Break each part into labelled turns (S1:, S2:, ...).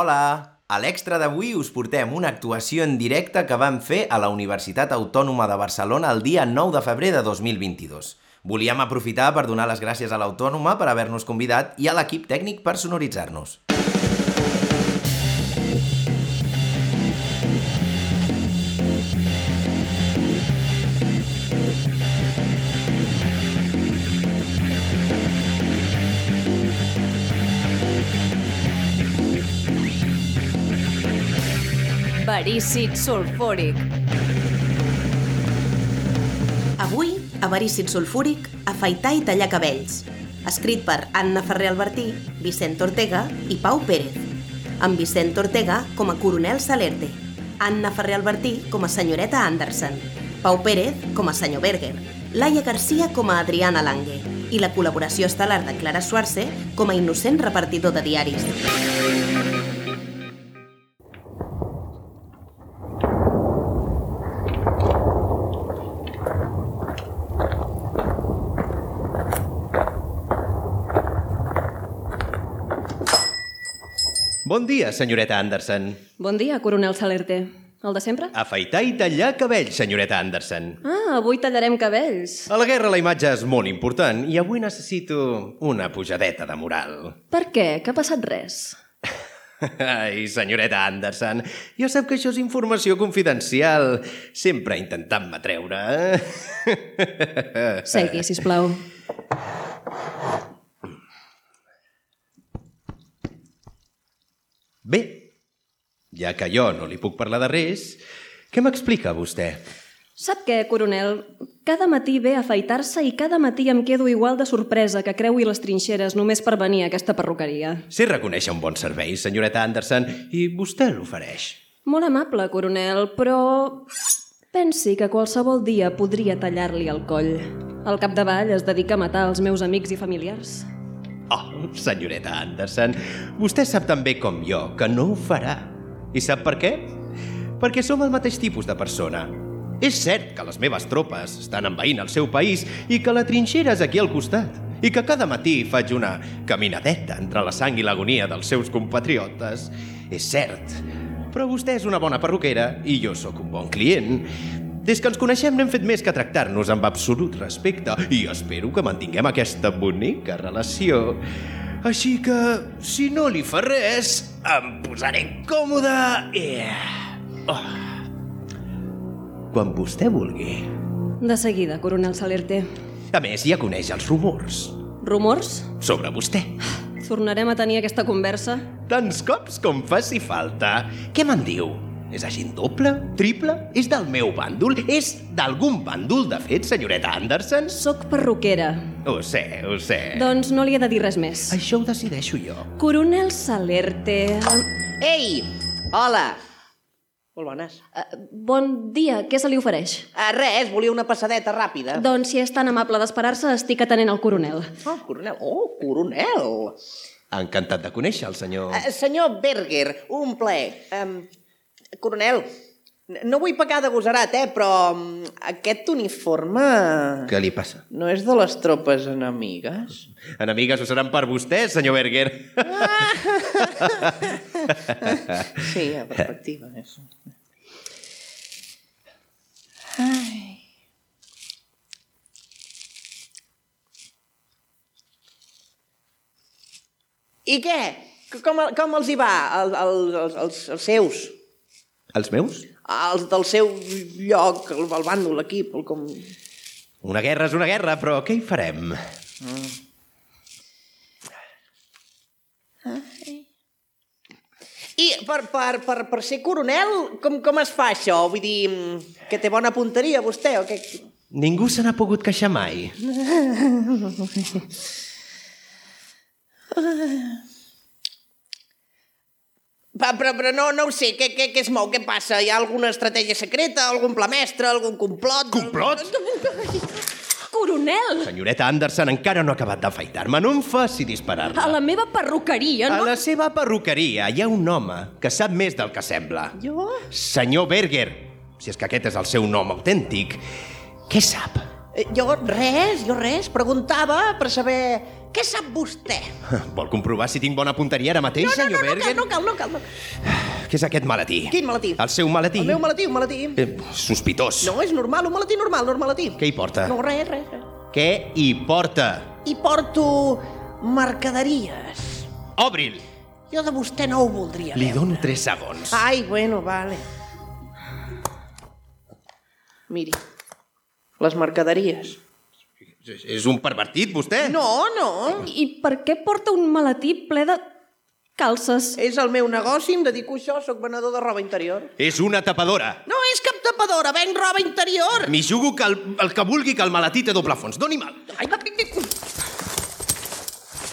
S1: Hola! A l'extra d'avui us portem una actuació en directe que vam fer a la Universitat Autònoma de Barcelona el dia 9 de febrer de 2022. Volíem aprofitar per donar les gràcies a l'Autònoma per haver-nos convidat i a l'equip tècnic per sonoritzar-nos.
S2: Verícid sulfúric.
S3: Avui, avarícid sulfúric, afaitar i tallar cabells. Escrit per Anna Ferrer Albertí, Vicent Ortega i Pau Pérez. Amb Vicent Ortega com a coronel Salerte, Anna Ferrer Albertí com a senyoreta Anderson, Pau Pérez com a senyor Berger, Laia Garcia com a Adriana Lange i la col·laboració estel·lar de Clara Suarce com a innocent repartidor de diaris.
S1: Bon dia, senyoreta Anderson.
S4: Bon dia, coronel Salerte. El de sempre?
S1: Afaitar i tallar cabell, senyoreta Anderson.
S4: Ah, avui tallarem cabells.
S1: A la guerra la imatge és molt important i avui necessito una pujadeta de moral.
S4: Per què? Que ha passat res?
S1: Ai, senyoreta Anderson, jo sap que això és informació confidencial. Sempre intentant-me treure, eh?
S4: Segui, si plau.
S1: Bé, ja que jo no li puc parlar de res, què m'explica vostè?
S4: Sap què, coronel? Cada matí ve a afaitar-se i cada matí em quedo igual de sorpresa que creui les trinxeres només per venir a aquesta perruqueria.
S1: Sé reconèixer un bon servei, senyoreta Anderson, i vostè l'ofereix.
S4: Molt amable, coronel, però... Pensi que qualsevol dia podria tallar-li el coll. Al capdavall es dedica a matar els meus amics i familiars.
S1: Oh, senyoreta Anderson, vostè sap tan bé com jo que no ho farà. I sap per què? Perquè som el mateix tipus de persona. És cert que les meves tropes estan envaint el seu país i que la trinxera és aquí al costat i que cada matí faig una caminadeta entre la sang i l'agonia dels seus compatriotes. És cert, però vostè és una bona perruquera i jo sóc un bon client. Des que ens coneixem n'hem fet més que tractar-nos amb absolut respecte i espero que mantinguem aquesta bonica relació. Així que, si no li fa res, em posaré còmode i... Oh. Quan vostè vulgui.
S4: De seguida, coronel Salerte.
S1: A més, ja coneix els rumors
S4: Rumors?
S1: sobre vostè.
S4: Tornarem a tenir aquesta conversa?
S1: Tants cops com faci falta. Què me'n diu? És agent doble? Triple? És del meu bàndol? És d'algun bàndol, de fet, senyoreta Anderson?
S4: Soc perruquera.
S1: Ho sé, ho sé.
S4: Doncs no li he de dir res més.
S1: Això ho decideixo jo.
S4: Coronel Salerte...
S5: Ei! Hola! Molt bones.
S4: eh, Bon dia, què se li ofereix?
S5: Ah, res, volia una passadeta ràpida.
S4: Doncs si és tan amable d'esperar-se, estic atenent al coronel.
S5: Oh, coronel. Oh, coronel!
S1: Encantat de conèixer el senyor.
S5: Eh, senyor Berger, un plaer. Um, coronel, n- no vull pecar de gosarat, eh, però mm, aquest uniforme...
S1: Què li passa?
S5: No és de les tropes enemigues?
S1: Enemigues ho seran per vostè, senyor Berger.
S5: Sí, a perspectiva, això. Ai. I què? C- Com, el- com els hi va, el, el, els, els, els seus?
S1: Els meus?
S5: Els del seu lloc, el, el bàndol, l'equip, el com...
S1: Una guerra és una guerra, però què hi farem?
S5: I per, per, per, per ser coronel, com, com es fa això? Vull dir, que té bona punteria vostè o què?
S1: Ningú se n'ha pogut queixar mai.
S5: Va, però, però no, no ho sé, què, què, què es mou, què passa? Hi ha alguna estratègia secreta, algun pla mestre, algun complot?
S1: Complot?
S4: Coronel!
S1: Senyoreta Anderson encara no ha acabat d'afaitar-me. No em faci disparar-la.
S4: A la meva perruqueria,
S1: A
S4: no?
S1: la seva perruqueria hi ha un home que sap més del que sembla.
S5: Jo?
S1: Senyor Berger, si és que aquest és el seu nom autèntic, què sap?
S5: Eh, Jo res, jo res. Preguntava per saber Què sap vostè?
S1: Vol comprovar si tinc bona punteria ara mateix,
S5: No, no, no,
S1: senyor
S5: no cal,
S1: Bergen?
S5: no cal, no cal, no cal.
S1: Què és aquest maletí?
S5: Quin maletí?
S1: El seu maletí?
S5: El meu maletí, un maletí.
S1: Eh, sospitós.
S5: No, és normal, un maletí normal, no un maletí.
S1: Què hi porta?
S5: No, res, res, res.
S1: Què hi porta?
S5: I porto mercaderies.
S1: Obri'l!
S5: Jo de vostè no ho voldria.
S1: Li
S5: veure.
S1: dono tres segons.
S5: Ai, bueno, vale. Miri, les mercaderies.
S1: És- És un pervertit, vostè?
S5: No, no.
S4: I per què porta un maletí ple de calces?
S5: És el meu negoci, em dedico a això, sóc venedor de roba interior.
S1: És una tapadora.
S5: No és cap tapadora, venc roba interior.
S1: M'hi jugo que el, el que vulgui que el maletí té doble fons. Doni mal.
S5: Ai, va, pic, pic.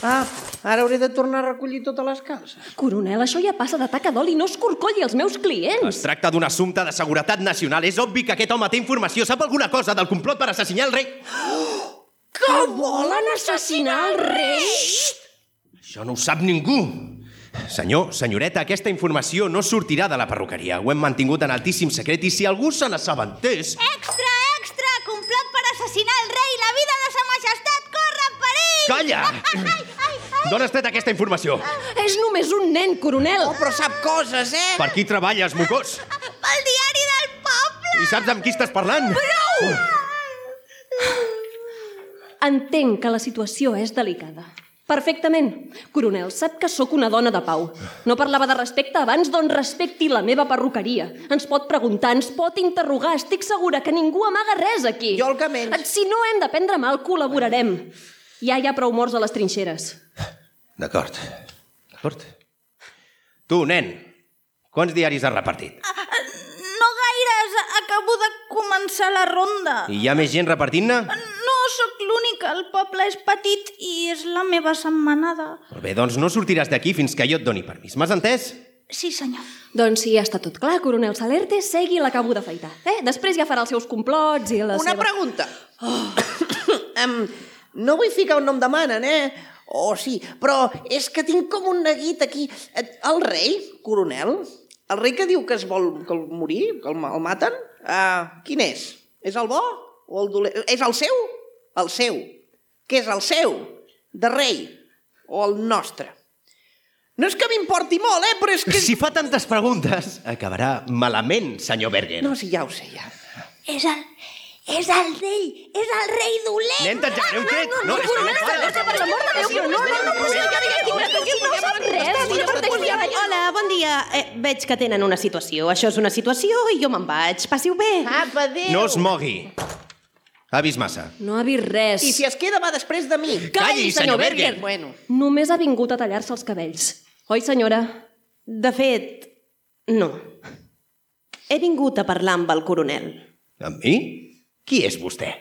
S5: Ah, ara hauré de tornar a recollir totes les calces.
S4: Coronel, això ja passa de taca d'oli, no escorcolli els meus clients.
S1: Es tracta d'un assumpte de seguretat nacional. És obvi que aquest home té informació. Sap alguna cosa del complot per assassinar el rei?
S4: Que volen assassinar el rei?
S1: Això no ho sap ningú. Senyor, senyoreta, aquesta informació no sortirà de la perruqueria. Ho hem mantingut en altíssim secret i si algú se n'assabentés...
S6: Extra, extra! Complot per assassinar el rei! La vida de sa majestat corre perill!
S1: Calla!
S6: Ai, ai, ai!
S1: D'on has tret aquesta informació?
S4: És només un nen, coronel.
S5: Oh, però sap coses, eh?
S1: Per qui treballes, mocós?
S6: Pel diari del poble!
S1: I saps amb qui estàs parlant? Prou!
S4: Entenc que la situació és delicada. Perfectament. Coronel, sap que sóc una dona de pau. No parlava de respecte abans, doncs respecti la meva perruqueria. Ens pot preguntar, ens pot interrogar. Estic segura que ningú amaga res aquí.
S5: Jo el que menys.
S4: Si no hem de prendre mal, col·laborarem. Ja hi ha prou morts a les trinxeres.
S1: D'acord. D'acord. Tu, nen, quants diaris has repartit?
S5: Ah.
S6: No gaires, acabo de començar la ronda.
S1: I hi ha més gent repartint-ne?
S6: No sóc l'única, el poble és petit i és la meva setmanada.
S1: Molt bé, doncs no sortiràs d'aquí fins que jo et doni permís. M'has entès?
S6: Sí, senyor.
S4: Doncs si ja està tot clar, coronel Salerte, segui l'acabo d'afaitar. Eh? Després ja farà els seus complots i la
S5: Una
S4: seva...
S5: pregunta. Em, no vull ficar un nom de manen, eh? O oh, sí, però és que tinc com un neguit aquí. Et- El rei, coronel, el rei que diu que es vol que el morir, que el, ma- el maten, uh, quin és? És el bo o el dolent? És el seu? El seu. Què és el seu? De rei o el nostre? No és que m'importi molt, eh? Però és que...
S1: Si fa tantes preguntes, acabarà malament, senyor Bergen.
S5: No, sí, ja ho sé, ja.
S6: És el... És el rei! És el rei dolent!
S1: Nen, t'engegaré un tret!
S4: No,
S1: és que
S4: coronel Salerte, per l'amor de Déu, coronel! No, no, no, no, no, no,
S3: Hola, bon dia. Eh, veig que tenen una situació. Això és una situació i jo me'n vaig. Passiu bé.
S5: Apa, adéu!
S1: No es mogui. Ha vist massa.
S4: no ha vist res.
S5: I si es queda va després de mi.
S1: Calli, senyor Berger.
S5: Bueno.
S4: Només ha vingut a tallar-se els cabells. Oi, senyora?
S3: De fet, no. He vingut a parlar amb el coronel.
S1: Amb mi? Qui és vostè?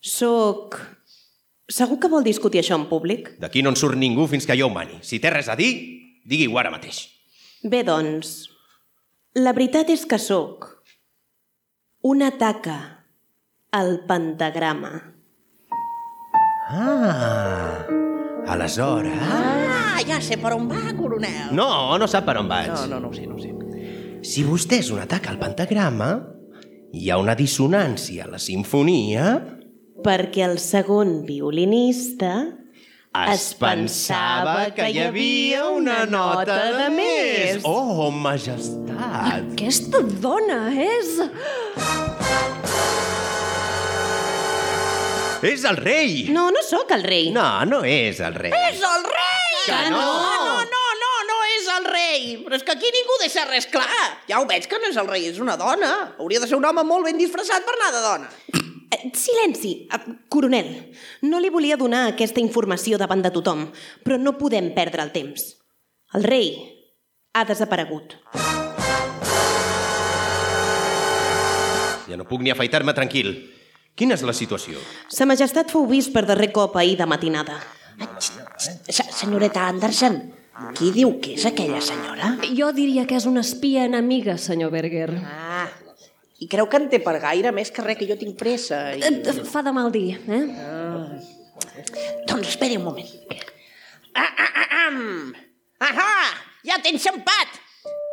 S3: Soc... Segur que vol discutir això en públic?
S1: D'aquí no en surt ningú fins que jo ho mani. Si té res a dir, digui-ho ara mateix.
S3: Bé, doncs, la veritat és que sóc una taca al pentagrama.
S1: Ah, aleshores...
S5: Ah, ja sé per on va, coronel.
S1: No, no sap per on vaig.
S5: No, no, no ho sé, no ho sé.
S1: Si vostè és un atac al pentagrama, hi ha una dissonància a la sinfonia...
S3: Perquè el segon violinista
S1: Es pensava que hi havia una nota de més. Oh, majestat!
S4: Aquesta dona és...
S1: És el rei!
S3: No, no sóc el rei. Ah,
S1: No, no és el rei.
S5: És el rei!
S1: Que no!
S5: No, no, no, no és el rei! Però és que aquí ningú deixa res clar. Ja ho veig que no és el rei, és una dona. Hauria de ser un home molt ben disfressat per anar de dona.
S3: Eh, Silenci, Eh, coronel. No li volia donar aquesta informació davant de tothom, però no podem perdre el temps. El rei ha desaparegut.
S1: Ja no puc ni afaitar-me tranquil. Quina és la situació?
S3: Sa majestat fou vist per darrer cop ahir de matinada.
S7: Eh, Se senyoreta Anderson, qui diu que és aquella senyora?
S4: Jo diria que és una espia enemiga, senyor Berger.
S5: Ah, i creu que en té per gaire, més que res que jo tinc pressa. I...
S4: Eh, Fa de mal dir, eh?
S7: Doncs esperi un moment.
S5: Ah, ah, ah, am. Ahà! Ja t'he enxampat!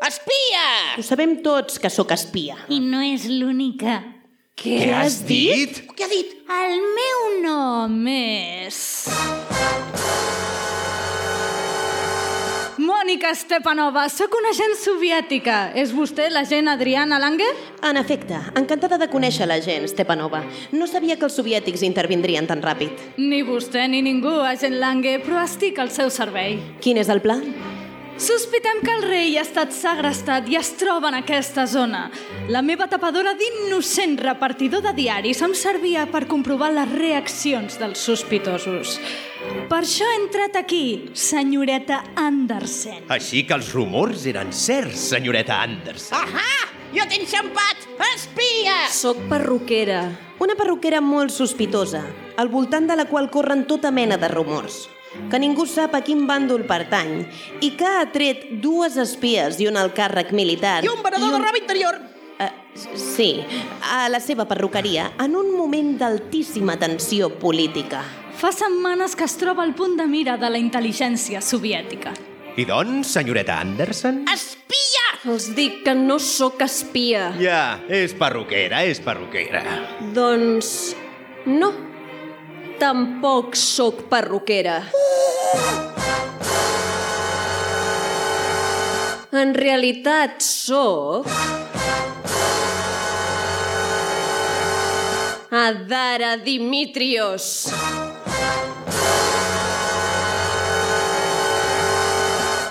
S5: Espia!
S3: Ho sabem tots que sóc espia.
S6: I no és l'única.
S1: Què has dit?
S5: Què ha dit?
S6: El meu nom és...
S8: Mònica Stepanova, sóc una agent soviètica. És vostè l'agent Adriana Langer?
S3: En efecte, encantada de conèixer la gent, Stepanova. No sabia que els soviètics intervindrien tan ràpid.
S8: Ni vostè ni ningú, agent Langer, però estic al seu servei.
S3: Quin és el pla?
S8: Sospitem que el rei ha estat segrestat i es troba en aquesta zona. La meva tapadora d'innocent repartidor de diaris em servia per comprovar les reaccions dels sospitosos. Per això he entrat aquí, senyoreta Andersen.
S1: Així que els rumors eren certs, senyoreta Anders.
S5: Ahà! Jo t'he enxampat! Espia!
S4: Soc perruquera.
S3: Una perruquera molt sospitosa, al voltant de la qual corren tota mena de rumors que ningú sap a quin bàndol pertany i que ha tret dues espies i un al càrrec militar...
S5: I un venedor de roba interior!
S3: Eh, s- sí, a la seva perruqueria, en un moment d'altíssima tensió política.
S8: Fa setmanes que es troba al punt de mira de la intel·ligència soviètica.
S1: I doncs, senyoreta Anderson?
S5: Espia!
S4: Els dic que no sóc espia.
S1: Ja, és perruquera, és perruquera.
S4: Doncs... no. Tampoc sóc perruquera. En realitat sóc... Adara Dimitrios.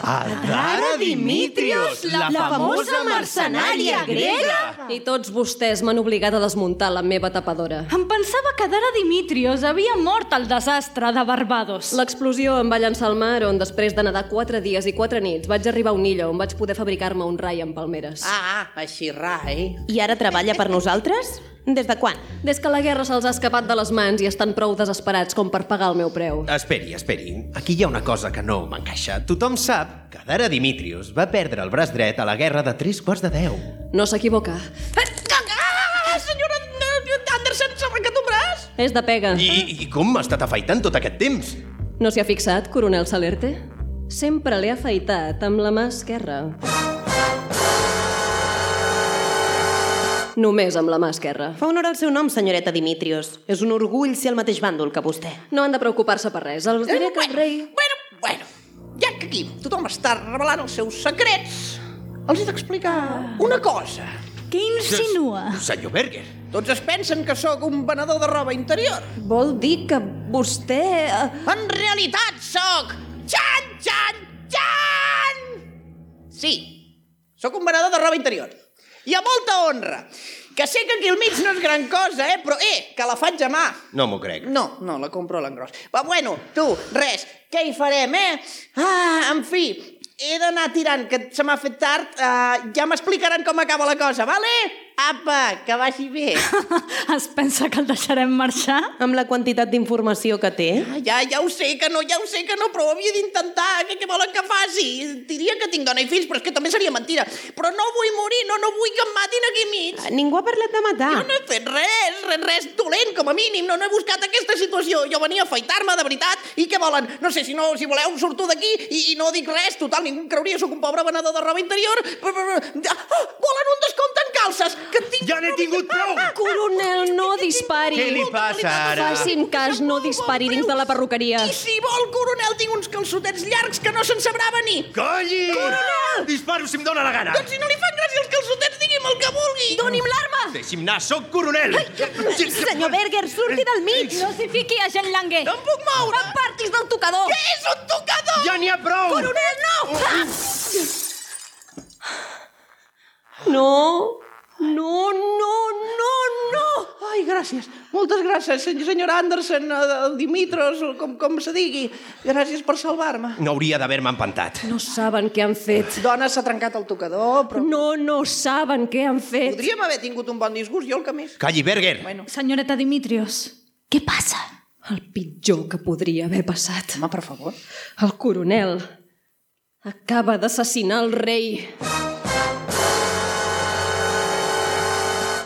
S1: Adara Dimitrios, la, la famosa mercenària grega!
S4: I tots vostès m'han obligat a desmuntar la meva tapadora.
S8: Em pensava que Dara Dimitrios havia mort al desastre de Barbados. La...
S4: L'explosió em va llançar al mar on després de nedar 4 dies i 4 nits vaig arribar a una illa on vaig poder fabricar-me un rai amb palmeres.
S5: Ah, així rai.
S3: I ara treballa per nosaltres? Des de quan?
S4: Des que la guerra se'ls ha escapat de les mans i estan prou desesperats com per pagar el meu preu.
S1: Esperi, esperi. Aquí hi ha una cosa que no m'encaixa. Tothom sap que Dara Dimitrios va perdre el braç dret a la guerra de tres quarts de deu.
S4: No s'equivoca.
S5: Eh, Ah, senyora Anderson, s'ha arrencat un braç!
S4: És de pega.
S1: I, i com m'ha estat afaitant tot aquest temps?
S4: No s'hi ha fixat, coronel Salerte? Sempre l'he afaitat amb la mà esquerra. Només amb la mà esquerra.
S3: Fa honor al seu nom, senyoreta Dimitrios. És un orgull ser el mateix bàndol que vostè.
S4: No han de preocupar-se per res. Els diré
S5: Eh,
S4: que el rei...
S5: Bueno, bueno, ja que aquí tothom està revelant els seus secrets, els he d'explicar una cosa.
S8: Què insinua?
S1: Senyor Berger.
S5: Tots es pensen que sóc un venedor de roba interior.
S4: Vol dir que vostè... eh,
S5: En realitat sóc... Xan, xan, xan! Sí, sóc un venedor de roba interior. I a molta honra. Que sé que aquí al mig no és gran cosa, eh? Però, eh, que la faig a mà.
S1: No m'ho crec.
S5: No, no, la compro a l'engròs. Però bueno, tu, res, què hi farem, eh? Ah, en fi, he d'anar tirant, que se m'ha fet tard. Uh, ja m'explicaran com acaba la cosa, vale? Apa, que vagi bé.
S8: es pensa que el deixarem marxar?
S3: Amb la quantitat d'informació que té...
S5: Ah, ja, ja ho sé que no, ja ho sé que no, però ho havia d'intentar. Què, què volen que faci? Diria que tinc dona i fills, però és que també seria mentira. Però no vull morir, no, no vull que em matin aquí mig.
S3: Ningú ha parlat de matar.
S5: Jo no he fet res, res, res dolent, com a mínim. No, no he buscat aquesta situació. Jo venia a afaitar-me, de veritat. I què volen? No sé, si no, si voleu, surto d'aquí i, i no dic res. Total, ningú em creuria, sóc un pobre venedor de roba interior. Però, però, però, ah, volen un descompte en calces, que tinc...
S1: Ja n'he tingut prou!
S4: Coronel, no dispari!
S1: Què li passa ara?
S4: Facin cas, no dispari dins de la perruqueria.
S5: I si vol, coronel, tinc uns calçotets llargs que no se'n sabrà venir.
S1: Colli! Disparo si em dóna la gana!
S5: Doncs si no li fan gràcia els calçotets, digui'm el que vulgui. Doni'm l'arma.
S1: Deixi'm anar, sóc coronel!
S3: Senyor Berger, surti del mig!
S8: No s'hi fiqui, agent Languer!
S5: No em puc moure.
S8: partis del tocador!
S5: Què és un tocador?
S1: Ja n'hi ha prou! Coronel!
S3: Oh.
S4: No, no, no, no, no!
S5: Oh, Ai, gràcies. Moltes gràcies, sen- senyora Anderson, eh, Dimitros, o com, com se digui. Gràcies per salvar-me.
S1: No hauria d'haver-me empantat.
S4: No saben què han fet.
S5: Dona, s'ha trencat el tocador, però...
S4: No, no saben què han fet.
S5: Podríem haver tingut un bon disgust, jo el que més.
S1: Calli, Berger!
S5: Bueno.
S8: Senyoreta Dimitrios, què passa?
S4: El pitjor que podria haver passat.
S5: Home, per favor.
S4: El coronel acaba d'assassinar el rei.